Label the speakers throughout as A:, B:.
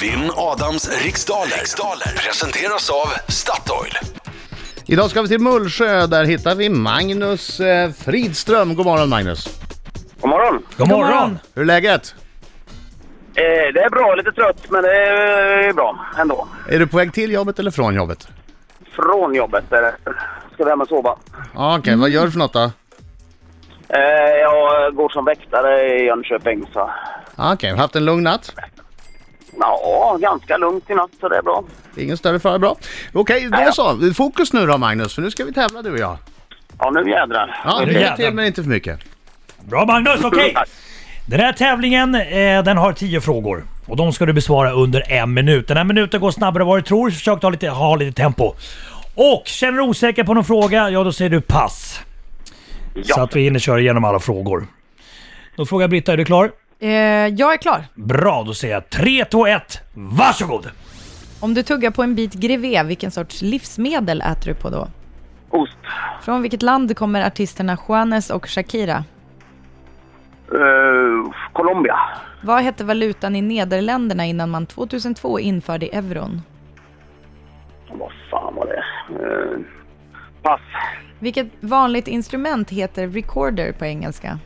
A: Vinn Adams riksdaler. riksdaler presenteras av Statoil.
B: Idag ska vi till Mullsjö, där hittar vi Magnus eh, Fridström. God morgon Magnus!
C: God morgon.
D: God morgon!
B: Hur är läget?
C: Eh, det är bra, lite trött, men det är bra ändå.
B: Är du på väg till jobbet eller från jobbet?
C: Från jobbet därefter. Ska vi hem och sova.
B: Ja, Ah, Okej, vad gör du för något då?
C: Eh, jag går som väktare i Jönköping, så...
B: Ah, Okej, haft en lugn natt?
C: Ja, ganska lugnt i natt, så det är bra.
B: Ingen större fara, bra. Okej,
C: Nej,
B: då
C: ja.
B: så. Fokus nu då Magnus, för nu ska vi tävla du och jag.
C: Ja, nu jädrar.
B: Ja,
D: Nu
B: lycka
D: jävlar.
B: till men inte för mycket.
D: Bra Magnus, okej!
C: Tack.
D: Den här tävlingen eh, den har 10 frågor. Och de ska du besvara under en minut. Den här minuten går snabbare än vad du tror, så försök ta lite, ha lite tempo. Och känner du osäker på någon fråga, ja då säger du pass. Så
C: Ja.
D: att vi hinner köra igenom alla frågor. Då frågar jag Britta, är du klar?
E: Eh, jag är klar.
D: Bra, då säger jag 3, 2, 1, varsågod!
E: Om du tuggar på en bit grevé, vilken sorts livsmedel äter du på då?
C: Ost.
E: Från vilket land kommer artisterna Juanes och Shakira?
C: Eh, Colombia.
E: Vad hette valutan i Nederländerna innan man 2002 införde euron?
C: Vad fan var det? Eh, pass.
E: Vilket vanligt instrument heter recorder på engelska?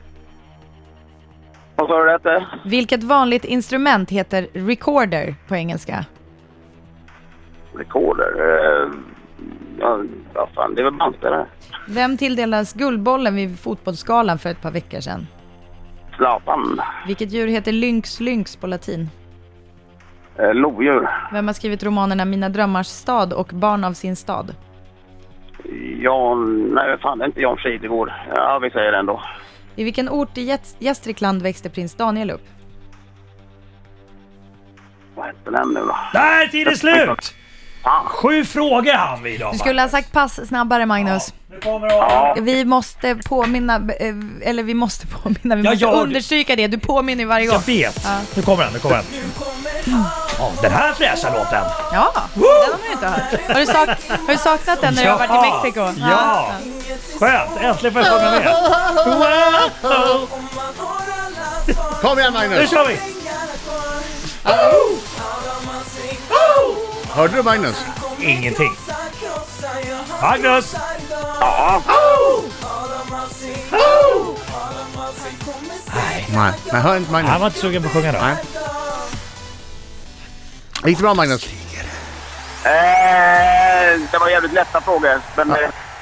C: Vad sa du det hette?
E: Vilket vanligt instrument heter recorder på engelska?
C: Recorder. Eh, ja, vad fan, det är väl bandspelare?
E: Vem tilldelades Guldbollen vid Fotbollsgalan för ett par veckor sedan?
C: Zlatan.
E: Vilket djur heter lynx lynx på latin?
C: Eh, lodjur.
E: Vem har skrivit romanerna Mina drömmars stad och Barn av sin stad?
C: Jan... Nej, fan, det är inte Jan Fridegård. Ja, vi säger det ändå.
E: I vilken ort i Gäst- Gästrikland växte prins Daniel upp?
C: Vad hette den nu då?
D: Där är tiden slut!
C: Fan.
D: Sju frågor hann vi idag
E: Du skulle ha sagt pass snabbare Magnus.
D: Nu kommer Adam.
E: Vi måste påminna, eh, eller vi måste påminna, vi
D: Ja,
E: måste
D: jag-
E: understryka det. Du påminner ju varje gång.
D: Jag vet! Nu kommer den, nu kommer den. Ja, den här fräscha låten!
E: Ja, den har man ju inte hört. Har du, sak- har du saknat den när du har varit i Mexiko?
D: Ja! Skönt! Äntligen får jag sjunga med! Wow.
B: Kom igen
D: Nu
B: Magnus!
D: kör vi!
B: Hörde du Magnus?
D: Ingenting. Magnus!
B: Nej, men hör inte Magnus.
D: Han var inte sugen på att sjunga då.
B: Nej. Gick det bra Magnus?
C: Eh, det var jävligt lätta frågor, men eh,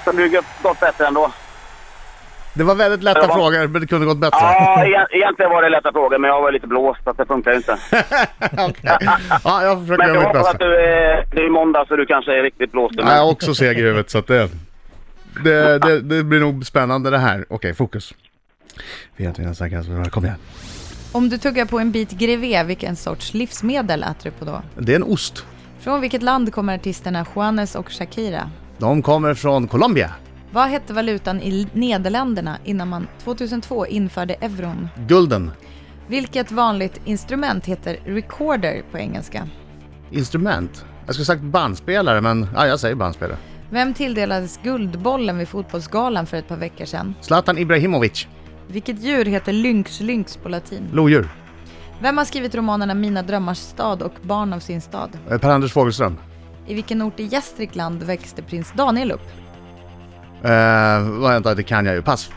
C: som du gott- gått bättre ändå.
B: Det var väldigt lätta
C: Det var-
B: frågor men det kunde gått bättre.
C: Ja, e- egentligen var det lätta frågor, men jag var lite blåst, så att det funkar ju inte.
B: Okej. Ja, jag försöker göra
C: Men jag
B: mitt
C: hoppas
B: bästa.
C: att du är... Det är måndag, så du kanske är riktigt blåst.
B: Ja, jag är också seg i huvudet så att det, det, det, det blir nog spännande det här. Okej, fokus. Vet vi nästan kanske, kom igen.
E: Om du tuggar på en bit grevé, vilken sorts livsmedel äter du på då?
B: Det är en ost.
E: Från vilket land kommer artisterna Juanes och Shakira?
B: De kommer från Colombia.
E: Vad hette valutan i Nederländerna innan man 2002 införde euron?
B: Gulden.
E: Vilket vanligt instrument heter recorder på engelska?
B: Instrument. Jag skulle sagt bandspelare men, ja jag säger bandspelare.
E: Vem tilldelades Guldbollen vid Fotbollsgalan för ett par veckor sedan?
B: Zlatan Ibrahimovic.
E: Vilket djur heter lynx lynx på latin?
B: Lodjur.
E: Vem har skrivit romanerna Mina drömmars stad och Barn av sin stad?
B: Eh, Per-Anders Fogelström.
E: I vilken ort i Gästrikland växte prins Daniel upp?
B: Eh, vänta, det kan jag ju. Pass.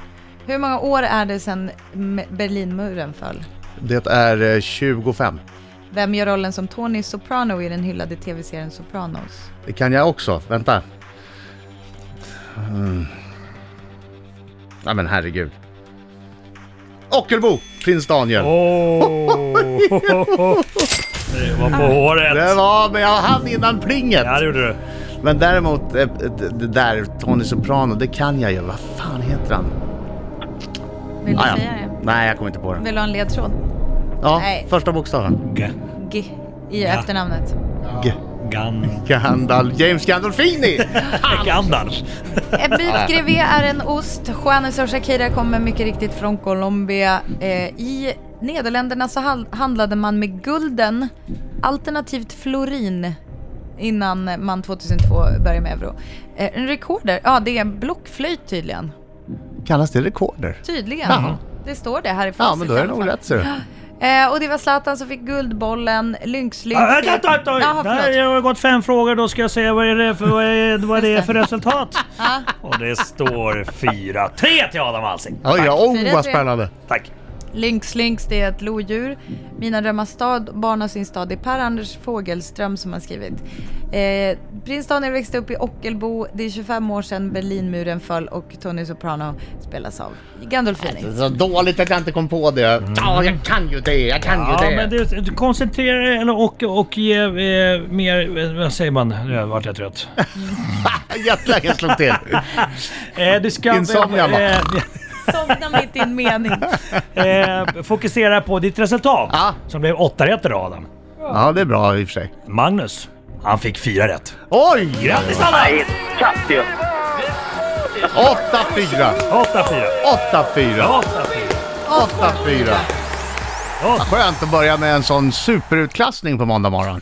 E: Hur många år är det sedan M- Berlinmuren föll?
B: Det är eh, 25.
E: Vem gör rollen som Tony Soprano i den hyllade tv-serien Sopranos?
B: Det kan jag också. Vänta. Mm. Ja men herregud. Ockelbo! Prins Daniel.
D: Åh. Det var på
B: Det
D: håret.
B: var, men jag hann innan plinget.
D: alltså. Ja, det gjorde du.
B: Men däremot, eh, det det där Tony Soprano, det kan jag ju. Vad fan heter han?
E: Vill du
B: Ah, ja.
E: säga det?
B: Nej, jag kommer inte på det.
E: Vill du ha en ledtråd?
B: Ja,
E: Nej.
B: första bokstaven.
E: G i efternamnet.
B: G.
D: Gan-
B: Gandalf, James Gandolfini!
D: Gandalf.
E: En bit grevé är Eh, en ost. Juanes och Shakira kommer mycket riktigt från Colombia. Eh, I Nederländerna så hal- handlade man med gulden, alternativt florin, innan man 2002 började med euro. Eh, en rekorder, ja det är blockflöjt tydligen.
B: Kallas det rekorder?
E: Tydligen.
B: Jaha.
E: Det står det här i
B: Ja,
E: facit
B: men då är
E: i
B: det
E: alla
B: nog
E: fall.
B: rätt ser du.
E: Eh, och det var Zlatan som fick Guldbollen, Lynx-Lynx...
D: Ah, Vänta, vänta, vänta!
E: Jaha, förlåt.
D: Där har gått fem frågor, då ska jag säga vad är det för, vad är, vad är det för resultat. Och det står 4-3 till Adam Alsing.
B: Oj, ja, oh,
E: Fyra,
B: vad
E: tre.
B: spännande.
D: Tack.
E: Lynx Lynx, det är ett lodjur. Mina drömmars stad banar sin stad. Det är Per-Anders Fogelström som har skrivit. Eh, Prins Daniel växte upp i Ockelbo. Det är 25 år sedan Berlinmuren föll och Tony Soprano spelas av Gandolfini.
B: Så dåligt att jag inte kom på det. Ja, jag kan ju det, jag kan
D: Mm. Ja,
B: ju det.
D: men du, du koncentrerar dig eller- och, och ge eh, mer... eh, Vad säger man? Nu vart jag trött.
B: Jetlagen slog till.
D: Eh, du ska...
B: Insomnia, va?
D: eh,
E: Somna mitt i en mening.
D: eh, Fokusera på ditt resultat.
B: Ja.
D: Som blev åtta rätt idag Adam.
B: Ja, det är bra i och för sig.
D: Magnus, han fick fyra rätt.
B: Oj!
D: Grattis Adam!
C: Katt ju.
B: 8-4. 8-4. 8-4.
D: 8-4. 8-4. Ja.
B: Skönt att börja med en sån superutklassning på måndag morgon.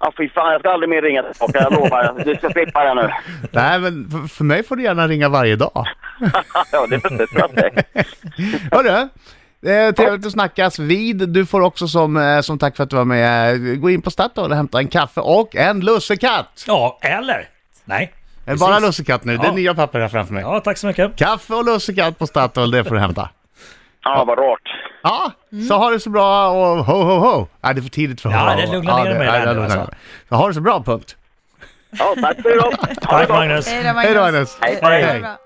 C: Ja, fy fan, jag ska aldrig mer ringa tillbaka, jag lovar. Du ska slippa det nu.
B: Nej, men f- för mig får du gärna ringa varje dag.
C: Ja, det förstår jag.
B: Hörru, eh, trevligt att snackas vid. Du får också som, eh, som tack för att du var med eh, gå in på Statoil och hämta en kaffe och en lussekatt.
D: Ja, eller? Nej.
B: Eh, Bara
D: Precis.
B: lussekatt nu, det är
D: Ja.
B: nya papper här framför mig.
D: Ja, tack så mycket.
B: Kaffe och lussekatt på Statoil, det får du hämta.
C: Ja, vad rart.
B: Ja, så ha det så bra och ho ho ho. Nej, det är för tidigt för ho
D: Ja,
B: ho, ho.
D: det lugnar ner mig
B: ja,
D: där nu,
B: lugnar ner
D: alltså.
B: mig. Så ha det så bra, punkt.
C: Ja, tack för idag. Ha det
D: Tack
C: bra.
D: Magnus.
E: Hej då
B: Hej då, Agnes.
E: Hej.
B: Hej.
E: Ha det bra.